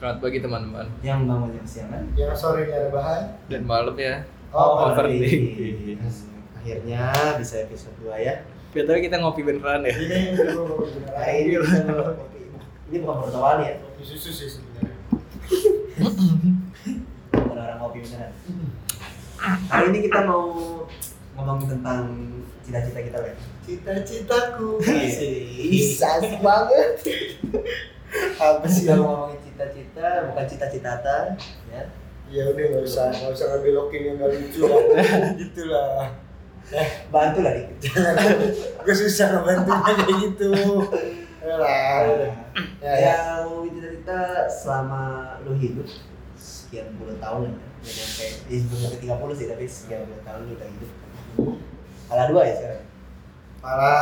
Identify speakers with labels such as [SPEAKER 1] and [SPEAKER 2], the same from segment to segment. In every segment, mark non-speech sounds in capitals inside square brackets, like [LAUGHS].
[SPEAKER 1] Selamat pagi teman-teman
[SPEAKER 2] yang bangun jam siangan
[SPEAKER 3] yang sore Ya, nggak ada bahan
[SPEAKER 1] dan malam ya.
[SPEAKER 3] oh,
[SPEAKER 1] over.
[SPEAKER 3] oh
[SPEAKER 1] Overthinking.
[SPEAKER 2] [LAUGHS] akhirnya bisa episode 2 ya
[SPEAKER 1] Btw kita ngopi beneran ya.
[SPEAKER 3] ini dulu beneran
[SPEAKER 2] hari ini kita minum kopi ini bukan pertawaan ya
[SPEAKER 3] kopi susu sih sebenarnya
[SPEAKER 2] bukan orang kopi beneran hari ini kita mau ngomongin tentang cita-cita kita ya
[SPEAKER 3] cita-citaku
[SPEAKER 2] bisa banget apa sih kalau ngomongin cita-cita bukan cita-citata ya
[SPEAKER 3] ya udah nggak usah nggak usah ngebelokin yang nggak lucu
[SPEAKER 2] [LAUGHS]
[SPEAKER 3] lah gitulah
[SPEAKER 2] bantu lah dikit
[SPEAKER 3] gue susah ngebantunya kayak gitu lah
[SPEAKER 2] Nah.
[SPEAKER 3] ya ya
[SPEAKER 2] yang cita-cita selama lu hidup sekian puluh tahun ya jadi sampai ya sebelum ke 30 sih tapi sekian puluh tahun lu udah hidup Kala dua ya sekarang
[SPEAKER 3] kepala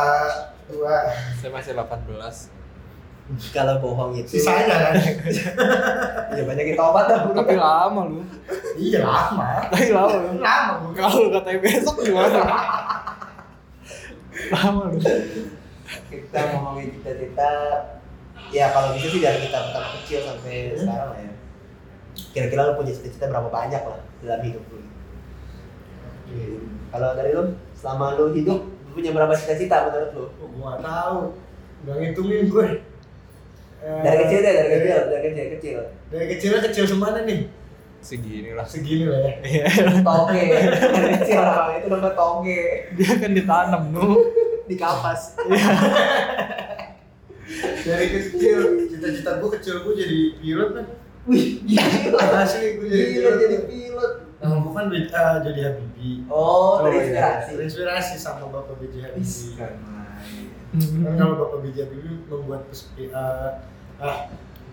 [SPEAKER 3] dua
[SPEAKER 1] Saya masih 18.
[SPEAKER 2] kalau bohong itu
[SPEAKER 3] sisanya kan
[SPEAKER 2] ya banyak yang
[SPEAKER 3] [LAUGHS]
[SPEAKER 2] tobat dah bro
[SPEAKER 1] Tapi lama lu.
[SPEAKER 3] iya lama
[SPEAKER 1] Tapi lama lu.
[SPEAKER 3] lama gue
[SPEAKER 1] Kalau lu katanya besok gimana? lama lu.
[SPEAKER 2] kita ngomongin cita-cita ya kalau bisa sih dari kita pertama kecil
[SPEAKER 3] Hmm.
[SPEAKER 2] sampai sekarang lah ya kira-kira lu punya cita-cita berapa banyak lah dalam hidup lu kalau dari lu selama lu hidup lu punya berapa cita-cita menurut lu
[SPEAKER 3] gue nggak tahu nggak ngitungin gue Eh,
[SPEAKER 2] dari kecil deh dari kecil dari kecil kecil
[SPEAKER 3] dari kecilnya kecil semana nih
[SPEAKER 1] Segini lah.
[SPEAKER 3] segini lah ya
[SPEAKER 1] Iya.
[SPEAKER 2] toge [LAUGHS] dari kecil orang itu namanya toge
[SPEAKER 1] Dia kan ditanam lu.
[SPEAKER 2] di kapas
[SPEAKER 3] dari kecil cita-cita gue kecil gue jadi pilot kan
[SPEAKER 2] wih gila
[SPEAKER 3] asli gue jadi
[SPEAKER 2] gila
[SPEAKER 3] pilot
[SPEAKER 2] Iya, jadi pilot
[SPEAKER 3] nah gue kan eh, jadi Habibie
[SPEAKER 2] oh dari inspirasi
[SPEAKER 3] terinspirasi sama bapak BJ
[SPEAKER 2] Wih,
[SPEAKER 3] Habibie
[SPEAKER 2] keren banget.
[SPEAKER 3] kan kalau bapak BJ Habibie membuat pes- eh, ah,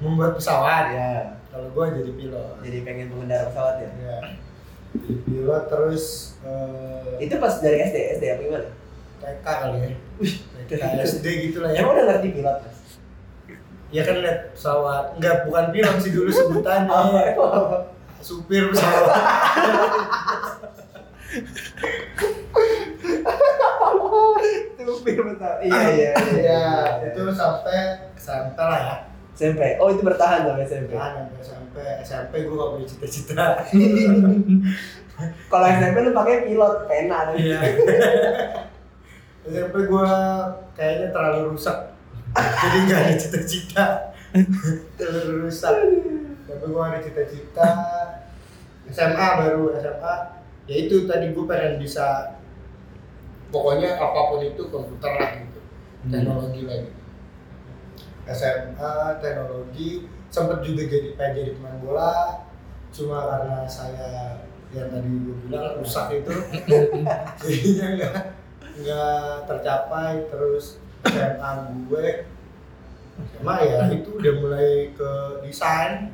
[SPEAKER 3] membuat pesawat ya
[SPEAKER 2] ya
[SPEAKER 3] kalau gue jadi pilot
[SPEAKER 2] jadi pengen pengendara pesawat ya
[SPEAKER 3] ya jadi pilot terus eh,
[SPEAKER 2] itu pas dari SD SD apa gimana
[SPEAKER 3] TK kali ya TK SD gitu lah ya
[SPEAKER 2] emang udah ngerti pilot mas
[SPEAKER 3] ya kan lihat pesawat enggak bukan pilot sih dulu sebutannya
[SPEAKER 2] Iya.
[SPEAKER 3] supir pesawat
[SPEAKER 2] itu pilot iya iya iya
[SPEAKER 3] ya itu sampai sampai lah ya
[SPEAKER 2] SMP oh itu bertahan sampai SMP
[SPEAKER 3] Kan sampai SMP SMP gue gak punya cita-cita.
[SPEAKER 2] kalau SMP lu pakai pilot pena tuh.
[SPEAKER 3] Iya. SMP gue kayaknya terlalu rusak. Jadi gak ada cita-cita. terlalu rusak. Tapi gue ada cita-cita. SMA baru SMA. Ya itu tadi gue pengen bisa. Pokoknya apapun itu komputer lah gitu. Teknologi lah gitu. SMA teknologi sempet juga jadi pengen jadi pemain bola cuma karena saya yang tadi gue bilang rusak itu jadinya nggak nggak tercapai terus SMA gue SMA ya itu udah mulai ke desain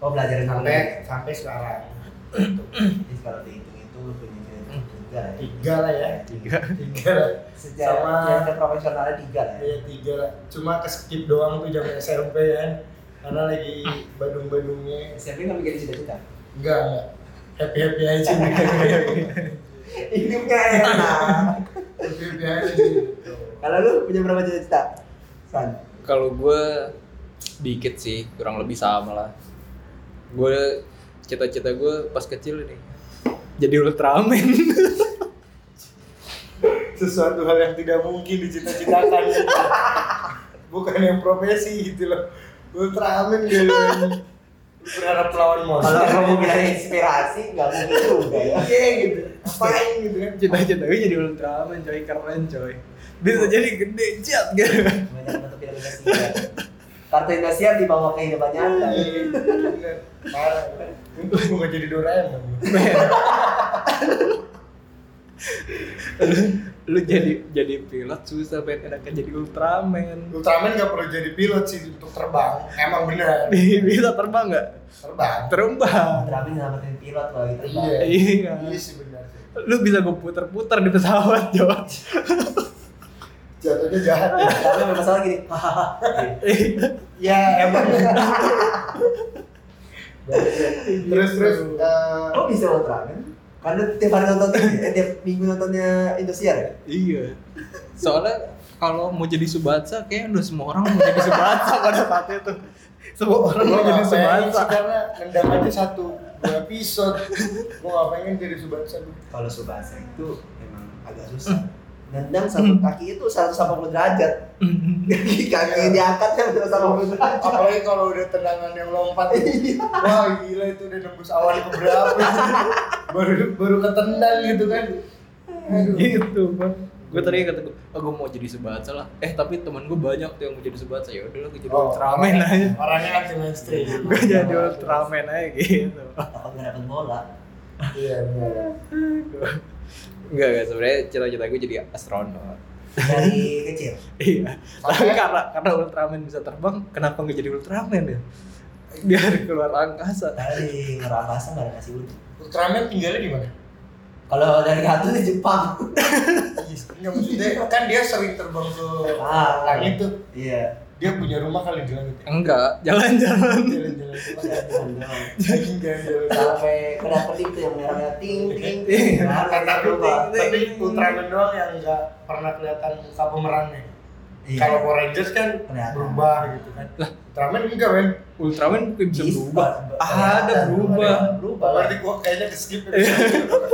[SPEAKER 2] oh belajar sampai
[SPEAKER 3] sampai sampai sekarang
[SPEAKER 2] Jadi kalau dihitung itu lu punya cita-cita tiga ya.
[SPEAKER 3] tiga lah ya
[SPEAKER 1] Tiga.
[SPEAKER 3] tiga lah
[SPEAKER 2] Secara
[SPEAKER 3] Sama-
[SPEAKER 2] yang profesionalnya tiga lah ya.
[SPEAKER 3] ya tiga lah cuma ke skip doang tuh jam SMP kan karena lagi badung-badungnya
[SPEAKER 2] SMP nggak mikirin cita-cita.
[SPEAKER 3] enggak enggak happy happy aja [LAUGHS]
[SPEAKER 2] Hidupnya ya. enak.
[SPEAKER 3] happy happy aja gitu.
[SPEAKER 2] [LAUGHS] Kalau lu punya berapa cita-cita? San.
[SPEAKER 1] Kalau gue dikit sih, kurang lebih sama lah. Gue cita-cita gue pas kecil nih jadi Ultraman.
[SPEAKER 3] sesuatu hal yang tidak mungkin dicita-citakan gitu. bukan yang profesi gitu loh Ultraman gitu berharap lawan
[SPEAKER 2] Kalau
[SPEAKER 3] monster
[SPEAKER 2] [LAUGHS] kamu bilang inspirasi nggak mungkin [LAUGHS] juga ya.
[SPEAKER 3] iya gitu apain gitu kan
[SPEAKER 1] Cita-cita gue jadi Ultraman, coy. Keren, coy. Bisa jadi gede, jat gitu.
[SPEAKER 2] Banyak banget film Indonesia. Kartu Indonesia dibawa ke kehidupan nyata.
[SPEAKER 3] Iya, bener. parah untung gue gak jadi Doraemon
[SPEAKER 1] lu, [LAUGHS] lu jadi jadi pilot susah pengen enaknya jadi Ultraman
[SPEAKER 3] Ultraman gak perlu jadi pilot sih untuk terbang emang bener
[SPEAKER 1] [LAUGHS] bisa terbang nggak
[SPEAKER 3] terbang
[SPEAKER 1] terbang
[SPEAKER 2] Terapi nyelamatin pilot loh gitu.
[SPEAKER 3] iya
[SPEAKER 1] Iya.
[SPEAKER 3] iya sih bener sih
[SPEAKER 1] lu bisa gue puter-puter di pesawat George [LAUGHS]
[SPEAKER 3] jatuhnya jahat ya
[SPEAKER 2] Tapi memang salah [LAUGHS] gini. Hahaha.
[SPEAKER 3] ya emang terus terus eh,
[SPEAKER 2] Kok bisa Ultraman? Karena tiap hari nonton ini, eh, tiap minggu nontonnya Indosiar ya?
[SPEAKER 1] iya soalnya kalau mau jadi Subatsa kayak udah semua orang mau jadi Subatsa pada saat itu Semua orang
[SPEAKER 3] Gua
[SPEAKER 1] mau jadi
[SPEAKER 3] nggak pengen
[SPEAKER 1] sebangsa.
[SPEAKER 3] sih, karena mendampingi satu dua episode gue gak pengen jadi subasa gua.
[SPEAKER 2] kalau subasa itu emang agak
[SPEAKER 1] Hmm.
[SPEAKER 2] susah nendang satu kaki itu 180 derajat kaki kaki diangkat kan 180 derajat
[SPEAKER 3] apalagi kalau udah tendangan yang lompat wah gila itu udah nembus awal keberapa baru baru ketendang gitu kan Aduh.
[SPEAKER 1] [LAUGHS] gitu bang gue tadi kata gue oh, gue mau jadi sebatsa lah eh tapi temen gue banyak tuh yang mau jadi sebatsa ya udah gue jadi ultraman aja
[SPEAKER 3] Oh, orangnya anti mainstream
[SPEAKER 1] gue jadi ultraman aja gitu
[SPEAKER 2] apa nggak dapet bola
[SPEAKER 3] iya benar
[SPEAKER 1] enggak enggak sebenarnya cita-cita gue jadi astronot
[SPEAKER 2] dari kecil
[SPEAKER 1] iya tapi karena karena ultraman bisa terbang kenapa nggak jadi ultraman ya biar keluar angkasa
[SPEAKER 2] karena di luar angkasa nggak ada nasi uduk
[SPEAKER 3] Ultraman tinggalnya di mana?
[SPEAKER 2] kalau dari kartu di Jepang
[SPEAKER 3] Enggak maksudnya kan dia sering terbang ke
[SPEAKER 2] Ah.
[SPEAKER 3] langit
[SPEAKER 1] gitu.
[SPEAKER 3] tuh.
[SPEAKER 2] iya
[SPEAKER 3] Dia punya rumah kali di langit. ya?
[SPEAKER 1] enggak jalan-jalan
[SPEAKER 3] Jalan-jalan
[SPEAKER 2] Cuma nggak ada nendang.
[SPEAKER 3] jalan jalan.
[SPEAKER 2] sampai kena petik tuh yang merahnya ting ting ting
[SPEAKER 1] Iya.
[SPEAKER 2] Nah,
[SPEAKER 3] Tapi
[SPEAKER 2] lupa.
[SPEAKER 3] tapi Ultraman doang yang enggak pernah kelihatan muka pemerannya.
[SPEAKER 2] Iya.
[SPEAKER 3] Kalau Power Rangers kan
[SPEAKER 2] Kelihatan.
[SPEAKER 3] berubah gitu kan. Ultraman enggak men.
[SPEAKER 1] ultraman bisa
[SPEAKER 2] Bisa
[SPEAKER 1] berubah ada
[SPEAKER 2] Kelihatan.
[SPEAKER 1] berubah
[SPEAKER 2] berubah
[SPEAKER 3] Berarti gua kayaknya di skip.
[SPEAKER 1] Iya.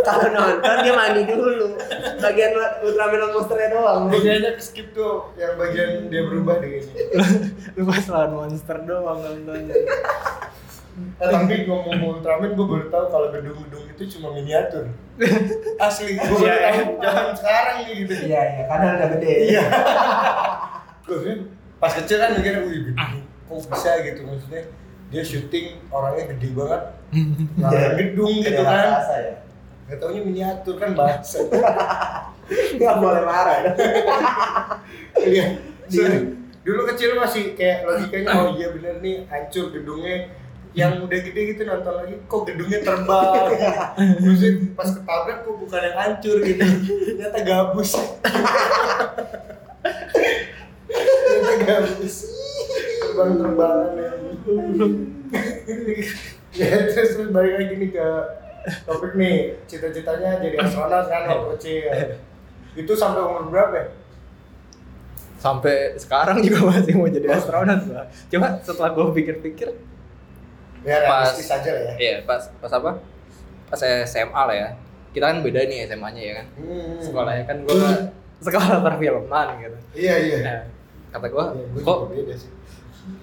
[SPEAKER 2] kalau nonton dia mandi dulu bagian Ultraman sama monsternya doang
[SPEAKER 3] Gua
[SPEAKER 1] Iya.
[SPEAKER 3] kayaknya di skip tuh yang bagian dia berubah deh kayaknya.
[SPEAKER 1] lu pas lawan monster doang nontonnya [LAUGHS]
[SPEAKER 3] Eh, tapi ngomong Ultraman gue baru tahu kalau gedung-gedung itu
[SPEAKER 1] [LAUGHS]
[SPEAKER 3] cuma miniatur. Asli gue baru
[SPEAKER 1] Iya.
[SPEAKER 3] tahu zaman sekarang nih gitu.
[SPEAKER 2] iya iya karena udah gede
[SPEAKER 3] Iya. Gua kan pas kecil kan mikirnya wih
[SPEAKER 1] Ah.
[SPEAKER 3] gedung kok bisa gitu maksudnya dia syuting orangnya gede banget
[SPEAKER 2] Iya.
[SPEAKER 3] ngalahin gedung gitu
[SPEAKER 2] Kayak
[SPEAKER 3] kan
[SPEAKER 2] raksasa ya
[SPEAKER 3] nggak taunya miniatur kan bahasa
[SPEAKER 2] nggak boleh marah ya.
[SPEAKER 3] iya
[SPEAKER 2] Iya.
[SPEAKER 3] sorry. dulu kecil masih kayak logikanya oh iya bener nih hancur gedungnya yang udah gede gitu nonton lagi kok gedungnya terbang maksudnya pas ketabrak kok bukan yang hancur gitu ternyata gabus ternyata gabus terbang terbangan ya ya terus terus balik lagi nih ke topik nih cita-citanya jadi astronot kan waktu kecil itu sampai umur berapa ya?
[SPEAKER 1] sampai sekarang juga masih mau jadi astronot lah. Cuma setelah gue pikir-pikir,
[SPEAKER 3] ya
[SPEAKER 1] Pas-
[SPEAKER 3] realistis aja lah ya
[SPEAKER 1] ya pas pas apa? Pas SMA lah ya. Kita kan beda nih SMA-nya ya kan.
[SPEAKER 3] Hmm.
[SPEAKER 1] Sekolahnya kan gue sekolah perfilman gitu.
[SPEAKER 3] Iya iya.
[SPEAKER 1] Nah, kata gue,
[SPEAKER 3] Iya, gua
[SPEAKER 1] kok
[SPEAKER 3] juga beda sih.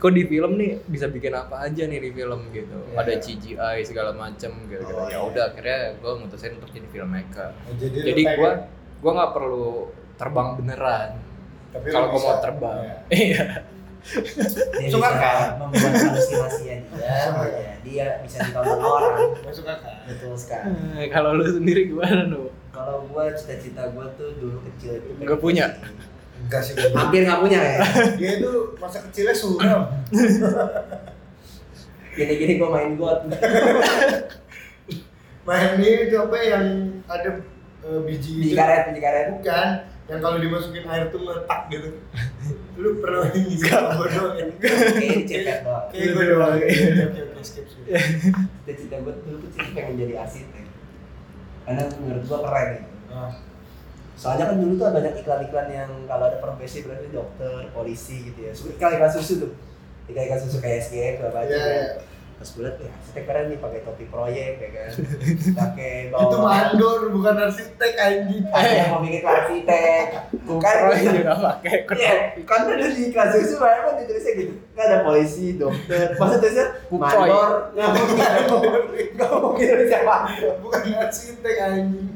[SPEAKER 1] kok di film nih bisa bikin apa aja nih di film gitu.
[SPEAKER 3] Iya.
[SPEAKER 1] Ada CGI segala macem gitu. gitu.
[SPEAKER 3] Oh,
[SPEAKER 1] ya
[SPEAKER 3] iya.
[SPEAKER 1] udah akhirnya gue mutusin untuk jadi filmmaker.
[SPEAKER 3] Nah, jadi lu
[SPEAKER 1] Jadi
[SPEAKER 3] pengen-
[SPEAKER 1] gue gue nggak perlu terbang beneran.
[SPEAKER 3] Tapi lu
[SPEAKER 1] Kalau gue
[SPEAKER 3] bisa.
[SPEAKER 1] mau terbang,
[SPEAKER 3] Iya.
[SPEAKER 1] iya.
[SPEAKER 2] dia
[SPEAKER 3] Suka
[SPEAKER 2] bisa
[SPEAKER 3] kan?
[SPEAKER 2] membuat halusinasinya dia
[SPEAKER 3] Suka.
[SPEAKER 2] ya. dia bisa ditonton orang
[SPEAKER 3] masuk akal.
[SPEAKER 2] betul sekali
[SPEAKER 3] Hmm.
[SPEAKER 1] Eh, [LAUGHS] Kalau lu sendiri gimana Nuh?
[SPEAKER 2] kalau gua cita-cita gua tuh dulu kecil itu
[SPEAKER 1] Nggak punya.
[SPEAKER 3] Enggak sih.
[SPEAKER 2] hampir nggak punya ya
[SPEAKER 3] Dia itu masa kecilnya suram.
[SPEAKER 2] gini-gini gua main god
[SPEAKER 3] Main ini itu apa yang ada eh, biji
[SPEAKER 2] di
[SPEAKER 3] itu?
[SPEAKER 2] karet di karet
[SPEAKER 3] Bukan. Yang kalau dimasukin air tuh meletak gitu. Lu pernah ini sih gua doang. ya?
[SPEAKER 2] Oke, di cepet doang.
[SPEAKER 3] Kayak gua doang. Oke, oke, oke, skip, skip.
[SPEAKER 2] cita-cita gua dulu kecil tuh pengen jadi arsitek karena menurut gua keren gitu
[SPEAKER 3] Ah,
[SPEAKER 2] soalnya kan dulu tuh banyak iklan-iklan yang kalau ada profesi berarti dokter, polisi gitu ya Su- iklan-iklan susu tuh iklan-iklan susu kayak SGF, gak baca
[SPEAKER 3] Iya, iya.
[SPEAKER 2] terus gue liat kan. ya arsitek keren nih pakai topi proyek ya
[SPEAKER 3] [LAUGHS]
[SPEAKER 2] kan pakai bawa
[SPEAKER 3] Nah, Itu mandor bukan arsitek anjing.
[SPEAKER 2] ada yang mau bikin arsitek
[SPEAKER 3] Kan
[SPEAKER 2] bukan
[SPEAKER 1] Kuproy juga
[SPEAKER 3] [LAUGHS]
[SPEAKER 1] pakai
[SPEAKER 2] Kan Iya, kan ada di iklan susu banyak kan ditulisnya gitu Kan ada polisi, dokter, masa tulisnya
[SPEAKER 1] Kuproy.
[SPEAKER 2] mandor Nggak mungkin, nggak mungkin tulisnya mandor
[SPEAKER 3] Bukan arsitek anjing.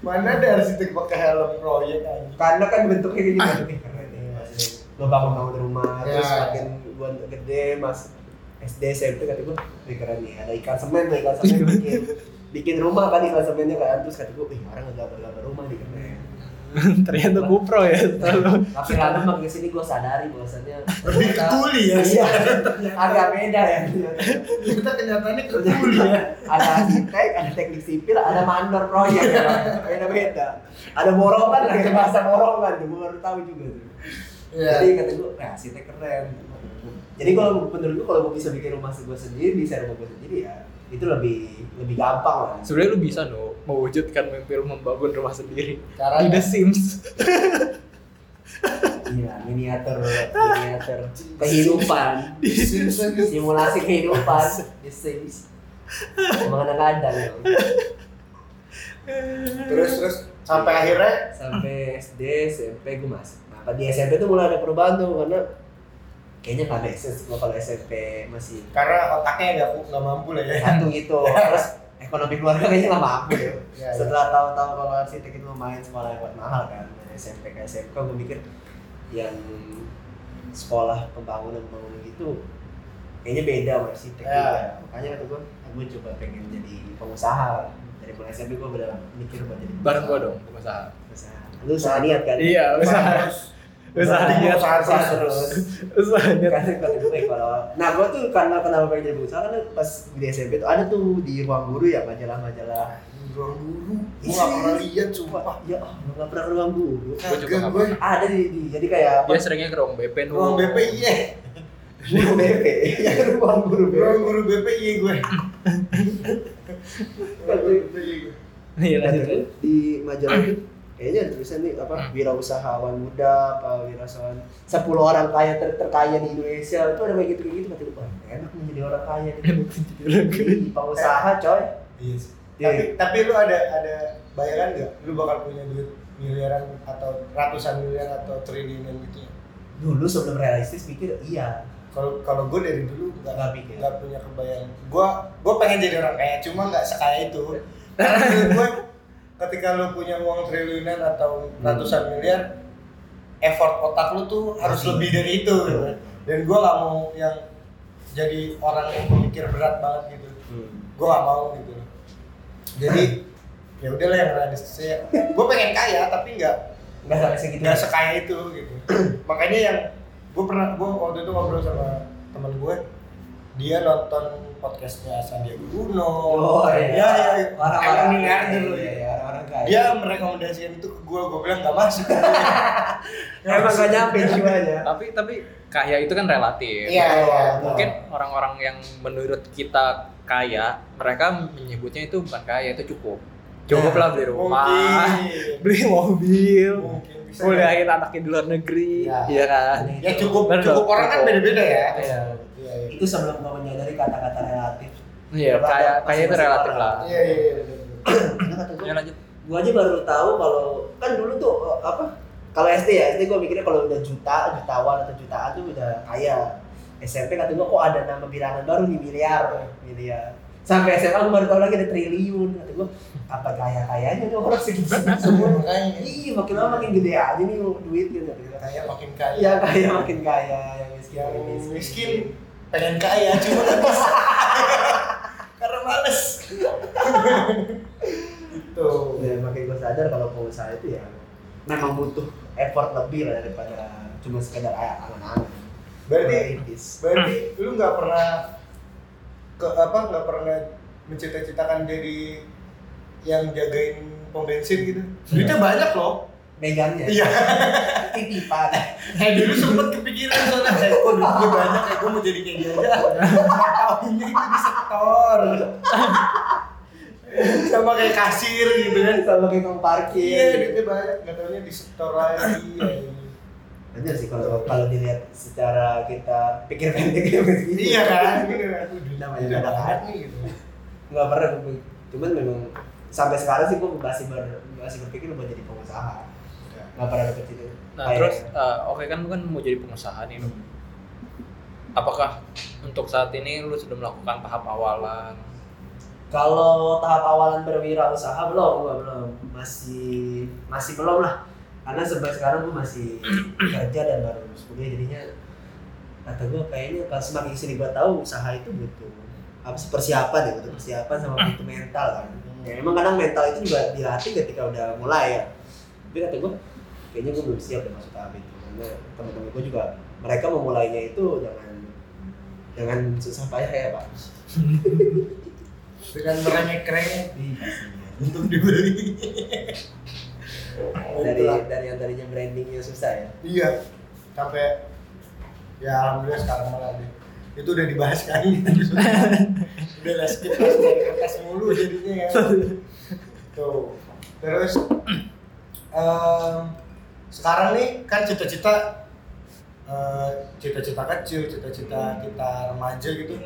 [SPEAKER 3] Mana ada arsitek pakai helm proyek anjing.
[SPEAKER 2] karena kan bentuknya kayak gitu Ih, keren nih maksudnya lo bangun bangun rumah
[SPEAKER 3] Ya.
[SPEAKER 2] terus makin gua gede mas SD SMP kata gua wih keren nih ada ikan semen tuh ikan semen bikin bikin rumah kan ikan semennya kan terus kata gua wih orang ngegambar gambar rumah nih keren
[SPEAKER 1] Ternyata GoPro ya selalu.
[SPEAKER 2] tapi lama makin kesini gua sadari bahwasannya
[SPEAKER 3] Lebih ke kuli ya.
[SPEAKER 2] iya [LAUGHS] agak beda ya
[SPEAKER 3] Iya, Kita kenyataannya ke kuli
[SPEAKER 2] Ternyata
[SPEAKER 3] ya.
[SPEAKER 2] ada arsitek, ada teknik sipil, ada mandor proyek, ya. beda-beda. Ada borongan lagi bahasa borongan, tuh gua baru tahu juga tuh.
[SPEAKER 3] Iya.
[SPEAKER 2] Jadi kata gue, nah arsitek keren. Jadi kalau menurut gue kalau gue bisa bikin rumah gue sendiri, bisa rumah gue sendiri ya itu lebih lebih gampang lah.
[SPEAKER 1] Sebenarnya lu bisa no Iya, mewujudkan mimpi lu membangun rumah sendiri
[SPEAKER 3] Caranya?
[SPEAKER 1] di The Sims.
[SPEAKER 2] Iya, miniatur, miniatur kehidupan,
[SPEAKER 3] Simpsons.
[SPEAKER 2] simulasi kehidupan, The Sims. Emang kadang-kadang ya.
[SPEAKER 3] terus terus sampai akhirnya
[SPEAKER 2] sampai SD, SMP gue masuk. Nah, pas di SMP tuh mulai ada perubahan tuh karena kayaknya kalau SS gue kalau SMP masih
[SPEAKER 3] karena otaknya nggak nggak mampu lah ya
[SPEAKER 2] satu gitu. Terus ekonomi keluarga kayaknya nggak mampu ya.
[SPEAKER 3] Ya, ya.
[SPEAKER 2] Setelah tahu-tahu kalau arsitek itu lumayan sekolah yang mahal kan dari SMP ke SMK gue mikir yang sekolah pembangunan pembangunan gitu kayaknya beda sama arsitek
[SPEAKER 3] Ya.
[SPEAKER 2] juga. Makanya kata gue, gue coba pengen jadi pengusaha dari mulai SMP gue udah mikir buat jadi
[SPEAKER 1] Bareng gua dong, pengusaha.
[SPEAKER 2] pengusaha. Lu usaha niat kan?
[SPEAKER 1] Iya, usaha.
[SPEAKER 3] Terus,
[SPEAKER 1] Usaha
[SPEAKER 3] Berarti
[SPEAKER 1] niat.
[SPEAKER 3] usaha terus,
[SPEAKER 2] terus.
[SPEAKER 3] terus.
[SPEAKER 1] Usaha niat.
[SPEAKER 2] Karena kata gue kalau nah gue tuh karena kenapa pengen jadi pengusaha karena pas di SMP tuh ada tuh di ruang guru ya majalah-majalah.
[SPEAKER 3] Ruang guru, gua nggak pernah lihat cuma
[SPEAKER 2] Wah, ya Allah, nggak pernah ke ruang guru.
[SPEAKER 1] Gua juga nggak
[SPEAKER 3] gue
[SPEAKER 2] Ada di, di jadi kayak apa?
[SPEAKER 1] Dia seringnya ke ruang BP nu.
[SPEAKER 3] ruang BP iya,
[SPEAKER 2] Guru BP, ya ruang guru BP.
[SPEAKER 3] ruang guru BP iya gue. Ruang guru BP iya gue.
[SPEAKER 1] Iya
[SPEAKER 2] Nah,
[SPEAKER 1] lanjut.
[SPEAKER 2] terus di majalah itu kayaknya ada tulisan nih apa wirausahawan muda apa wirausahawan 10 orang kaya ter terkaya di Indonesia itu ada kayak gitu gitu kata gue enak nih jadi orang kaya gitu Ih, pengusaha coy
[SPEAKER 3] Iya. sih. Tapi tapi lu ada ada bayaran nggak? Lu bakal punya duit miliaran atau ratusan miliar atau triliunan gitu ya?
[SPEAKER 2] dulu sebelum realistis pikir iya
[SPEAKER 3] Kalau kalau gue dari dulu nggak
[SPEAKER 2] Nggak pikir.
[SPEAKER 3] nggak punya kebayang. Gue gue pengen jadi orang kaya, cuma nggak sekaya itu. Karena menurut gue ketika lu punya uang triliunan atau ratusan miliar, effort otak lu tuh harus
[SPEAKER 2] Pasti.
[SPEAKER 3] lebih dari itu. gitu. Dan gue nggak mau yang jadi orang yang mikir berat banget gitu.
[SPEAKER 2] Hmm.
[SPEAKER 3] Gue nggak mau gitu. Jadi ya udahlah yang realistis ya. Gue pengen kaya tapi nggak
[SPEAKER 2] nggak sampai segitu
[SPEAKER 3] nggak sekaya itu gitu [CLEARS THROAT] makanya yang gue pernah gue waktu itu ngobrol sama teman gue dia nonton podcastnya Sandiaga Uno
[SPEAKER 2] oh iya
[SPEAKER 3] ya, ya, ya. emang
[SPEAKER 2] orang-orang
[SPEAKER 3] miliarder loh
[SPEAKER 2] iya,
[SPEAKER 3] ya
[SPEAKER 2] iya, orang-orang kaya
[SPEAKER 3] dia merekomendasikan itu ke gue gue bilang gak
[SPEAKER 2] [LAUGHS]
[SPEAKER 3] masuk
[SPEAKER 2] emang gak nyampe jiwanya
[SPEAKER 1] Tapi tapi kaya itu kan relatif.
[SPEAKER 3] iya iya
[SPEAKER 1] Mungkin orang-orang yang menurut kita kaya, mereka menyebutnya itu bukan kaya, itu cukup. Cukuplah beli rumah,
[SPEAKER 3] mungkin
[SPEAKER 1] beli mobil,
[SPEAKER 3] mungkin bisa
[SPEAKER 1] kuliahin anaknya di luar negeri,
[SPEAKER 2] Ya.
[SPEAKER 1] iya kan?
[SPEAKER 3] ya cukup
[SPEAKER 1] Bener dong,
[SPEAKER 3] cukup orang kan
[SPEAKER 1] cukup.
[SPEAKER 3] beda beda ya
[SPEAKER 2] Iya.
[SPEAKER 3] iya iya.
[SPEAKER 2] itu sebelum gue menyadari kata-kata relatif
[SPEAKER 1] Iya, kaya kaya itu
[SPEAKER 2] Masing-masing
[SPEAKER 1] relatif
[SPEAKER 2] orang.
[SPEAKER 1] lah.
[SPEAKER 3] iya iya iya, bener-bener.
[SPEAKER 2] karena kata gue
[SPEAKER 1] Ya lanjut.
[SPEAKER 2] gua aja baru tahu kalau kan dulu tuh eh, apa kalau SD ya SD gua mikirnya kalau udah juta jutawan atau jutaan tuh udah kaya SMP kata gua kok ada nama bilangan baru nih miliar miliar sampai SMA gua baru tahu lagi ada triliun kata gua apa kaya kayanya nih orang segitu
[SPEAKER 3] semua
[SPEAKER 2] semua
[SPEAKER 3] makanya
[SPEAKER 2] iya makin lama makin gede aja nih duit gitu kata gua.
[SPEAKER 3] kaya makin kaya
[SPEAKER 2] yang kaya Iya, makin kaya yang miskin
[SPEAKER 3] yang
[SPEAKER 2] makin
[SPEAKER 3] miskin pengen kaya cuma nggak bisa karena males gitu
[SPEAKER 2] Ya, makanya gue sadar kalau pengusaha itu ya
[SPEAKER 1] Nah,
[SPEAKER 2] memang butuh effort lebih lah daripada cuma sekedar a- angan-angan.
[SPEAKER 3] berarti
[SPEAKER 2] Realistis.
[SPEAKER 3] berarti lu nggak pernah ke apa nggak pernah mencita-citakan jadi yang jagain pom bensin gitu duitnya banyak loh
[SPEAKER 2] megangnya.
[SPEAKER 3] Iya.
[SPEAKER 2] [LAUGHS] Titipan.
[SPEAKER 3] eh dulu sempet kepikiran soalnya eh [LAUGHS] kok duitnya banyak ya gue mau jadi kayak dia aja tahunnya itu kan di sektor sama kayak kasir
[SPEAKER 2] Iya,
[SPEAKER 3] gitu kan
[SPEAKER 2] Sama kayak tukang
[SPEAKER 3] Iya,
[SPEAKER 2] parkir.
[SPEAKER 3] duitnya banyak, nggak taunya di setor lagi. ya.
[SPEAKER 2] Bener sih kalau kalau dilihat secara kita pikir pendek ya begini.
[SPEAKER 3] Iya kan? Gitu kan? Duit
[SPEAKER 2] Namanya
[SPEAKER 3] duit
[SPEAKER 2] ada
[SPEAKER 3] apaan
[SPEAKER 2] kan.
[SPEAKER 3] nih gitu.
[SPEAKER 2] Nggak pernah. gua- Cuman memang sampai sekarang sih gue masih ber, masih berpikir buat jadi pengusaha.
[SPEAKER 3] Iya.
[SPEAKER 2] Nggak pernah dapet itu.
[SPEAKER 1] Nah,
[SPEAKER 2] Kayak-
[SPEAKER 1] terus eh, oke kan lu kan mau jadi pengusaha nih lu. Apakah untuk saat ini lu sudah melakukan tahap awalan?
[SPEAKER 2] Kalau tahap awalan berwirausaha belum, gua belum, masih masih belum lah. Karena sampai sekarang gue masih kerja dan baru lulus kuliah jadinya kata gue kayaknya pas semakin sini gue tahu usaha itu butuh apa sih persiapan ya butuh persiapan sama butuh mental kan. Ya, emang kadang mental itu juga dilatih ketika udah mulai ya. Tapi kata gue kayaknya gue belum siap deh masuk tahap itu karena teman-teman gue juga mereka memulainya itu dengan dengan susah payah ya pak.
[SPEAKER 3] Dengan makanya keren
[SPEAKER 2] Ih, kasihan.
[SPEAKER 3] untuk dibeli.
[SPEAKER 2] dari
[SPEAKER 3] Oh, Itulah.
[SPEAKER 2] dari yang tadinya brandingnya susah ya
[SPEAKER 3] Iya. Sampai ya alhamdulillah sekarang malah deh. Itu udah dibahas [LAUGHS] kan. udah lah skip lah, dari kertas mulu jadinya ya. Tuh. Terus em, sekarang nih kan cita-cita eh, cita-cita kecil cita-cita kita remaja gitu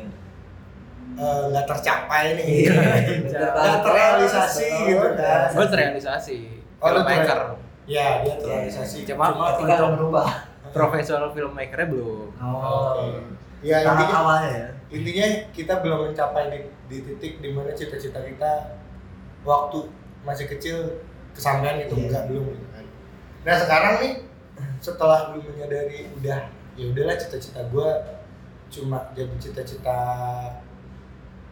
[SPEAKER 1] Hmm.
[SPEAKER 3] eh, nggak tercapai nih
[SPEAKER 2] Iya.
[SPEAKER 3] nggak terrealisasi gitu kan
[SPEAKER 1] Gue terrealisasi
[SPEAKER 3] Oh, lu
[SPEAKER 1] filmmaker.
[SPEAKER 3] ya dia terrealisasi
[SPEAKER 1] Iya, cuma-
[SPEAKER 2] ketika
[SPEAKER 1] Untuk-
[SPEAKER 2] berubah
[SPEAKER 1] Profesional filmmakernya belum.
[SPEAKER 3] Oke.
[SPEAKER 2] oh
[SPEAKER 3] ya
[SPEAKER 2] tahap
[SPEAKER 3] intinya
[SPEAKER 2] awalnya ya
[SPEAKER 3] intinya kita belum mencapai di, di titik dimana cita-cita kita waktu masih kecil kesampaian itu
[SPEAKER 2] Iya.
[SPEAKER 3] enggak belum gitu kan nah sekarang nih setelah lu menyadari udah ya udahlah cita-cita gua cuma jadi cita-cita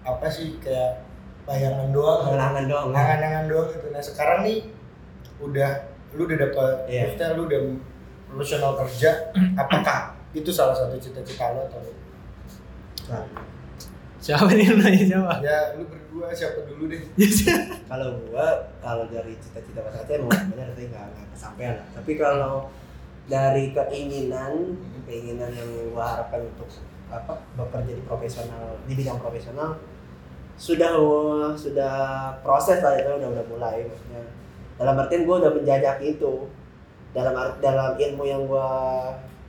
[SPEAKER 3] apa sih kayak bayangan doang
[SPEAKER 2] angan-angan doang ya.
[SPEAKER 3] angan-angan doang gitu nah sekarang nih udah lu udah dapat
[SPEAKER 2] Iya.
[SPEAKER 3] maksudnya lu udah profesional kerja apakah itu salah satu cita-cita lo atau
[SPEAKER 1] Siapa nih yang nanya siapa?
[SPEAKER 3] ya lu berdua siapa dulu deh
[SPEAKER 2] kalau gua kalau dari cita-cita pas saat emang benar saya nggak nggak kesampaian lah tapi kalau dari keinginan keinginan yang gua harapkan untuk apa bekerja di profesional di bidang profesional sudah gua- sudah proses lah itu udah udah mulai maksudnya dalam artian gua udah menjajaki itu dalam art- dalam ilmu yang gua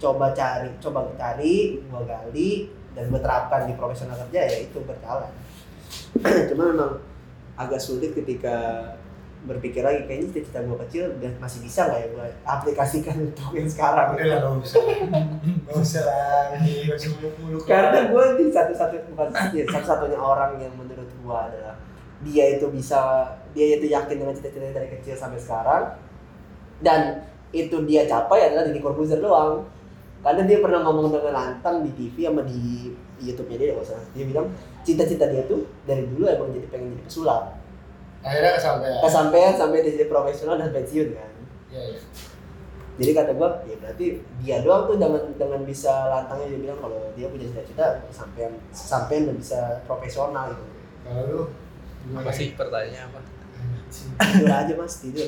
[SPEAKER 2] coba cari coba cari gua gali dan gua terapkan di profesional kerja ya itu berjalan [CLEARS THROAT] cuma memang agak sulit ketika berpikir lagi kayaknya cita-cita gue kecil dan masih bisa nggak ya gue aplikasikan [LAUGHS] untuk yang sekarang
[SPEAKER 3] udah lah nggak usah [LAUGHS] nggak usah lah nggak usah muluk-muluk
[SPEAKER 2] karena gue di satu-satu bukan ya, satu-satunya orang yang menurut gue adalah dia itu bisa dia itu yakin dengan cita-citanya dari kecil sampai sekarang dan itu dia capai adalah Deddy Corbuzier doang karena dia pernah ngomong dengan lantang di TV sama di YouTube-nya dia kalau nggak salah. dia bilang cita-cita dia tuh dari dulu emang jadi pengen jadi pesulap
[SPEAKER 3] akhirnya kesampaian
[SPEAKER 2] kesampaian sampai dia jadi profesional dan pensiun kan
[SPEAKER 3] ya, ya.
[SPEAKER 2] jadi kata gua ya berarti dia doang tuh dengan dengan bisa lantangnya dia bilang kalau dia punya cita-cita sampean sampean dan bisa profesional gitu
[SPEAKER 3] kalau lu gimana?
[SPEAKER 1] Apa sih pertanyaannya apa?
[SPEAKER 3] Anjing,
[SPEAKER 2] tidur aja mas tidur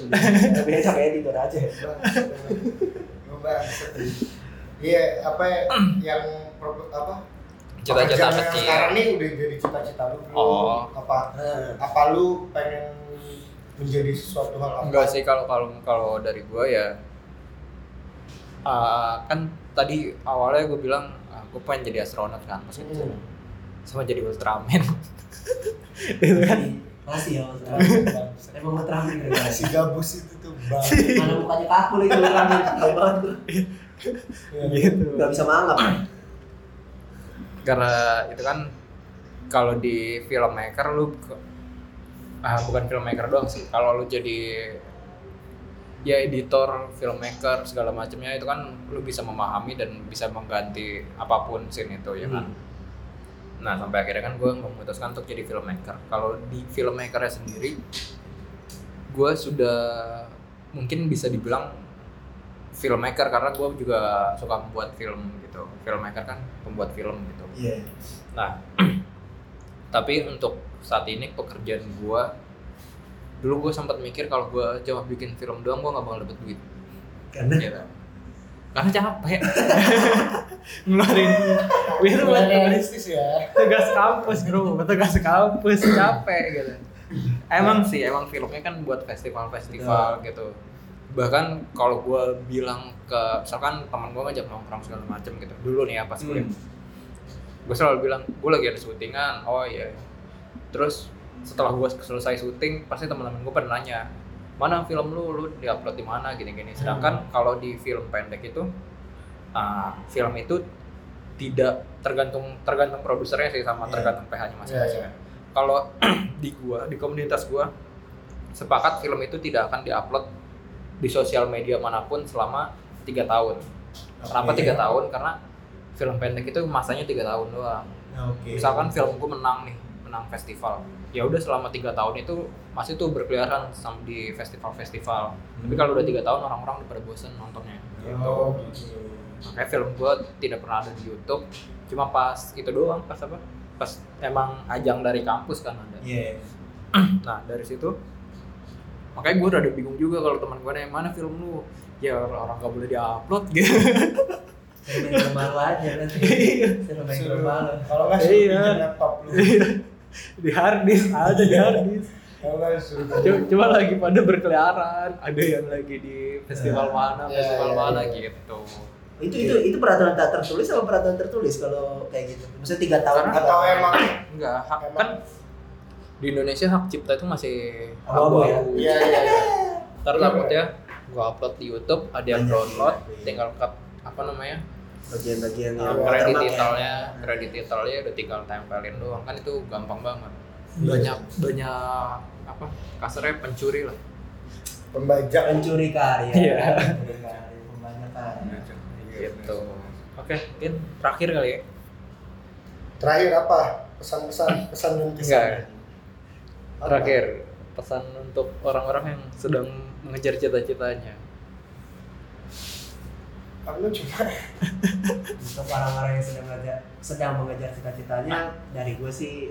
[SPEAKER 2] biasa sampai tidur aja
[SPEAKER 3] bangsat. Lu bangsat. Iya, apa ya, yang pro- apa
[SPEAKER 1] Cita-cita
[SPEAKER 3] pekerjaan yang
[SPEAKER 1] kecil.
[SPEAKER 3] sekarang nih udah jadi cita-cita lu belum?
[SPEAKER 1] Oh.
[SPEAKER 3] apa apa lu pengen menjadi sesuatu hal apa
[SPEAKER 1] Enggak sih kalau kalau kalau dari gue ya ah, kan tadi awalnya gue bilang gue pengen jadi astronot kan pas
[SPEAKER 3] Mm.
[SPEAKER 1] kecil sama jadi Ultraman
[SPEAKER 2] masih ya Mas.
[SPEAKER 3] Bangsat.
[SPEAKER 2] emang mau terampil
[SPEAKER 3] [LAUGHS] si gabus itu tuh bang
[SPEAKER 1] [LAUGHS]
[SPEAKER 2] mana mukanya kaku lagi lu terampil Tahu banget gua.
[SPEAKER 1] Gitu.
[SPEAKER 3] Gitu.
[SPEAKER 2] nggak bisa mangap
[SPEAKER 1] karena itu kan kalau di filmmaker lu ke- ah bukan filmmaker doang sih kalau lu jadi ya editor filmmaker segala macamnya itu kan lu bisa memahami dan bisa mengganti apapun scene itu ya kan
[SPEAKER 2] Hmm.
[SPEAKER 1] nah sampai akhirnya kan gue memutuskan untuk jadi filmmaker kalau di filmmakernya sendiri gue sudah mungkin bisa dibilang filmmaker karena gue juga suka membuat film gitu filmmaker kan pembuat film gitu
[SPEAKER 2] iya
[SPEAKER 1] Nah, [CLEARS THROAT] tapi untuk saat ini pekerjaan gua dulu gua sempat mikir kalau gua cuma bikin film doang gua nggak bakal dapet duit.
[SPEAKER 2] karena
[SPEAKER 1] Gitu. Karena capek. Ngeluarin duit buat
[SPEAKER 3] Nggak realistis ya
[SPEAKER 1] tugas kampus, Bro. Buat Tugas kampus capek gitu. Emang sih, emang filmnya kan buat festival-festival gitu. Bahkan kalau gua bilang ke misalkan teman gua ngajak nongkrong segala macem gitu. Dulu nih ya pas kuliah gue selalu bilang gue lagi ada syutingan oh iya terus setelah gue selesai syuting pasti teman-teman gue pernah nanya mana film lu lu diupload di mana gini-gini sedangkan kalau di film pendek itu ah, film itu tidak tergantung tergantung produsernya sih sama
[SPEAKER 3] Iya.
[SPEAKER 1] tergantung PH-nya masing-masing
[SPEAKER 3] Iya,
[SPEAKER 1] kalau [CLEARS THROAT] di gua di komunitas gua sepakat film itu tidak akan diupload di sosial media manapun selama tiga tahun kenapa
[SPEAKER 3] Oke.
[SPEAKER 1] tiga tahun karena film pendek itu masanya tiga tahun doang
[SPEAKER 3] oke
[SPEAKER 1] misalkan film gue menang nih menang festival ya udah selama tiga tahun itu masih tuh berkeliaran sama di festival-festival tapi
[SPEAKER 3] Hmm.
[SPEAKER 1] kalau udah tiga tahun orang-orang udah pada bosen nontonnya
[SPEAKER 3] oh gitu
[SPEAKER 1] makanya film gue tidak pernah ada di YouTube cuma pas itu doang pas apa pas emang ajang dari kampus kan ada
[SPEAKER 3] iya
[SPEAKER 1] nah dari situ makanya gue rada bingung juga kalau teman gue nanya mana film lu ya orang nggak boleh diupload [LAUGHS] gitu
[SPEAKER 2] main kemana aja nanti Suruh main
[SPEAKER 3] Suruh-
[SPEAKER 2] kemana
[SPEAKER 3] kalau nggak suruh
[SPEAKER 1] Iya.
[SPEAKER 3] pinjam laptop lu
[SPEAKER 1] di hard disk ada di hard disk
[SPEAKER 3] Apa suruh
[SPEAKER 1] Coba, coba lagi pada berkeliaran, ada yang lagi di festival mana,
[SPEAKER 3] Iya,
[SPEAKER 1] festival
[SPEAKER 3] iya,
[SPEAKER 1] mana
[SPEAKER 3] iya.
[SPEAKER 1] gitu.
[SPEAKER 2] itu itu itu peraturan tak tertulis atau peraturan tertulis kalau kayak gitu maksudnya tiga tahun
[SPEAKER 1] Karena-
[SPEAKER 3] atau emang
[SPEAKER 1] Enggak, hak
[SPEAKER 3] Emang-
[SPEAKER 1] kan di Indonesia hak cipta itu masih
[SPEAKER 2] Abu-abu ya?
[SPEAKER 1] abu-abu.
[SPEAKER 3] iya iya iya.
[SPEAKER 1] Ntar takutnya gua upload di YouTube, ada yang
[SPEAKER 2] Banyak,
[SPEAKER 1] download,
[SPEAKER 2] iya.
[SPEAKER 1] tinggal cut apa namanya? uh,
[SPEAKER 2] bagian-bagian yang
[SPEAKER 3] Iya,
[SPEAKER 1] kredit
[SPEAKER 2] termak ya.
[SPEAKER 1] detailnya, kredit detailnya udah tinggal tempelin doang kan itu gampang banget. Banyak banyak apa? Kasarnya pencuri lah.
[SPEAKER 3] pembajak
[SPEAKER 2] ya. pencuri karya
[SPEAKER 1] Iya.
[SPEAKER 2] Pencuri karya, pembajak karya.
[SPEAKER 1] Gitu. Oke, mungkin terakhir kali ya.
[SPEAKER 3] terakhir apa pesan-pesan pesan dan kesan
[SPEAKER 1] Enggak.
[SPEAKER 3] Apa?
[SPEAKER 1] Terakhir, pesan untuk orang-orang yang sedang mengejar cita-citanya.
[SPEAKER 3] aku cuma
[SPEAKER 2] untuk orang-orang yang sedang mengejar sedang mengejar cita-citanya dari gue sih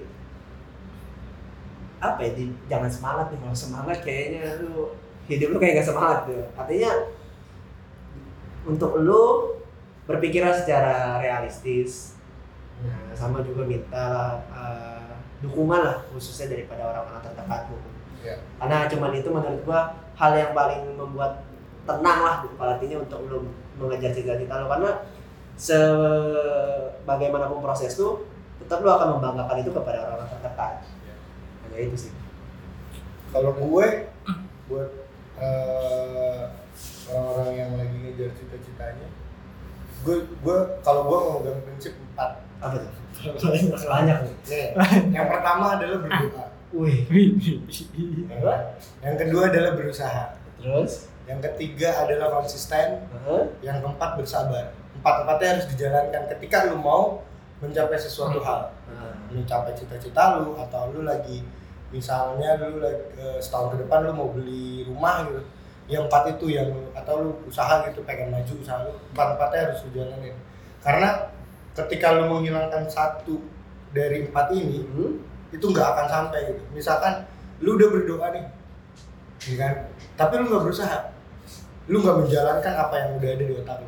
[SPEAKER 2] apa ya di, jangan semangat nih kalau semangat kayaknya lu hidup lu kayak gak semangat tuh artinya untuk lu berpikiran secara realistis nah, sama juga minta eh, dukungan lah khususnya daripada orang-orang terdekatmu
[SPEAKER 3] Iya.
[SPEAKER 2] karena cuman itu menurut gua hal yang paling membuat tenang lah di kepala artinya untuk lu mengejar cita-cita lu karena sebagaimanapun proses tuh tetap lu akan membanggakan itu kepada orang-orang terdekat
[SPEAKER 3] Ya.
[SPEAKER 2] hanya itu sih
[SPEAKER 3] kalau gue buat eh, orang-orang yang lagi ngejar cita-citanya gue gue kalau gue memegang prinsip empat
[SPEAKER 2] apa tuh banyak nih
[SPEAKER 3] Nih, yang pertama adalah berdoa
[SPEAKER 2] wih
[SPEAKER 3] yang kedua adalah berusaha
[SPEAKER 2] terus
[SPEAKER 3] yang ketiga adalah konsisten
[SPEAKER 2] Heeh.
[SPEAKER 3] yang keempat bersabar empat empatnya harus dijalankan ketika lu mau mencapai sesuatu hal lu capai cita-cita lu atau lu lagi misalnya lu lagi eh, setahun ke depan lu mau beli rumah gitu yang empat itu yang lu- atau lu usaha gitu pengen maju usaha lu empat empatnya harus lu jalanin karena ketika lu menghilangkan satu dari empat ini
[SPEAKER 2] Hmm.
[SPEAKER 3] itu nggak akan sampai gitu misalkan lu udah berdoa nih ya kan tapi lu nggak berusaha lu nggak menjalankan apa yang udah ada di otak lu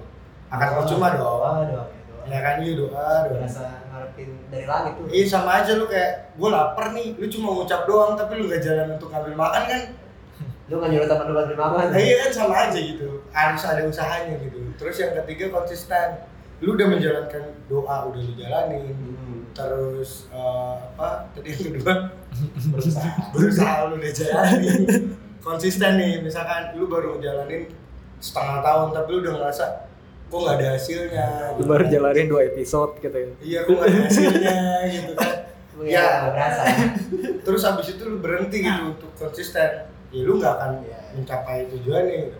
[SPEAKER 3] akan percuma
[SPEAKER 2] doa
[SPEAKER 3] dong
[SPEAKER 2] doang ya, doang.
[SPEAKER 3] ya kan lu doa doa
[SPEAKER 2] berasa ngarepin dari langit tuh
[SPEAKER 3] Iya sama aja lu kayak gue lapar nih, lu cuma ngucap doang tapi lu gak jalan untuk ngambil makan kan?
[SPEAKER 2] lu nggak nyuruh teman lu buat beli makan
[SPEAKER 3] Nah, iya kan sama aja gitu, harus ada usahanya gitu. Terus yang ketiga konsisten, lu udah menjalankan doa udah lu jalanin.
[SPEAKER 2] Hmm.
[SPEAKER 3] Terus eh, apa tadi yang kedua [LAUGHS]
[SPEAKER 2] berusaha
[SPEAKER 3] berusaha lu udah jalanin. konsisten nih misalkan lu baru jalanin setengah tahun tapi lu udah ngerasa kok nggak ada hasilnya.
[SPEAKER 1] Lu
[SPEAKER 3] gitu.
[SPEAKER 1] Baru jalanin dua episode gitu ya.
[SPEAKER 3] Iya kok nggak ada hasilnya gitu kan.
[SPEAKER 2] Lu ya
[SPEAKER 3] Ya.
[SPEAKER 2] nggak berasa
[SPEAKER 3] terus habis itu lu berhenti gitu untuk konsisten ya lu nggak akan
[SPEAKER 2] Iya.
[SPEAKER 3] mencapai tujuannya gitu.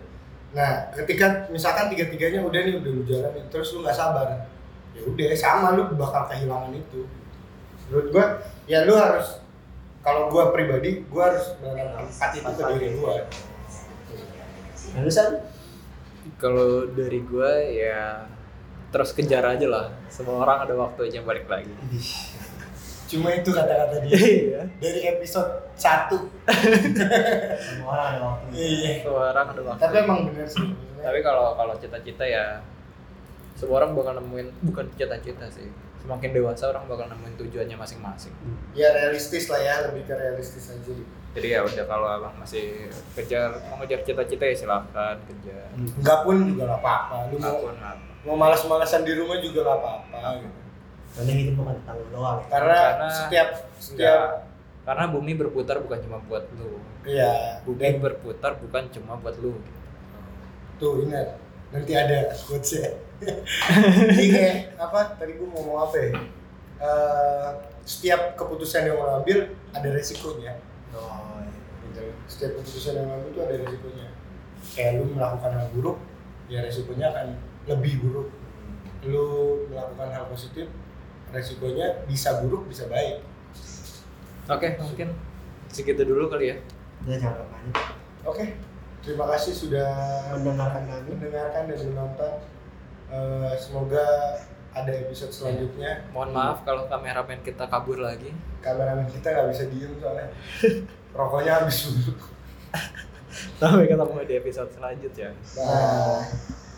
[SPEAKER 3] nah ketika misalkan tiga tiganya udah nih udah lu jalanin terus lu nggak sabar ya udah sama lu bakal kehilangan itu menurut gua ya lu harus kalau gua pribadi gua harus menanam empat itu ke diri gua
[SPEAKER 2] barusan
[SPEAKER 1] Kalau dari gue ya terus kejar aja lah. Semua orang ada waktunya balik lagi.
[SPEAKER 3] cuma itu kata-kata
[SPEAKER 1] [LAUGHS]
[SPEAKER 3] dia
[SPEAKER 1] Iya.
[SPEAKER 3] dari episode satu
[SPEAKER 2] semua orang ada waktu
[SPEAKER 3] iya
[SPEAKER 1] Semua orang ada waktu.
[SPEAKER 3] tapi emang bener sih
[SPEAKER 1] Tapi kalau kalau cita-cita ya semua orang bakal nemuin bukan cita-cita sih. Semakin dewasa orang bakal nemuin tujuannya masing-masing.
[SPEAKER 3] ya realistis lah ya lebih ke realistis aja gitu.
[SPEAKER 1] Jadi ya udah kalau abang masih kejar mau ngejar cita-cita ya silakan kejar.
[SPEAKER 3] nggak pun juga nggak apa-apa lu mau
[SPEAKER 1] Apapun apa.
[SPEAKER 3] mau malas-malasan di rumah juga nggak apa-apa gitu.
[SPEAKER 2] karena hidup bukan tentang lu doang ya
[SPEAKER 3] karena,
[SPEAKER 1] Karena-
[SPEAKER 3] setiap setiap
[SPEAKER 1] Enggak. Karena bumi berputar bukan cuma buat lu.
[SPEAKER 3] iya dan
[SPEAKER 1] Bumi berputar bukan cuma buat lu.
[SPEAKER 3] tuh ingat nanti ada quotesnya [LAUGHS] jadi kayak apa tadi gue mau ngomong apa ya Eh, setiap keputusan yang lo ambil ada resikonya
[SPEAKER 2] oh,
[SPEAKER 3] gitu. setiap keputusan yang lo ambil itu ada resikonya kayak lu melakukan hal buruk ya resikonya akan lebih buruk lu melakukan hal positif resikonya bisa buruk bisa baik
[SPEAKER 1] Oke, mungkin segitu dulu kali ya.
[SPEAKER 2] ya jangan banyak
[SPEAKER 3] oke terima kasih sudah
[SPEAKER 2] mendengarkan kami
[SPEAKER 3] mendengarkan dan menonton. Eh, semoga ada episode selanjutnya.
[SPEAKER 1] Mohon maaf kalau kameramen kita kabur lagi.
[SPEAKER 3] Kameramen kita nggak bisa diem soalnya rokoknya habis dulu.
[SPEAKER 1] Sampai ketemu di episode selanjutnya.
[SPEAKER 3] Bye.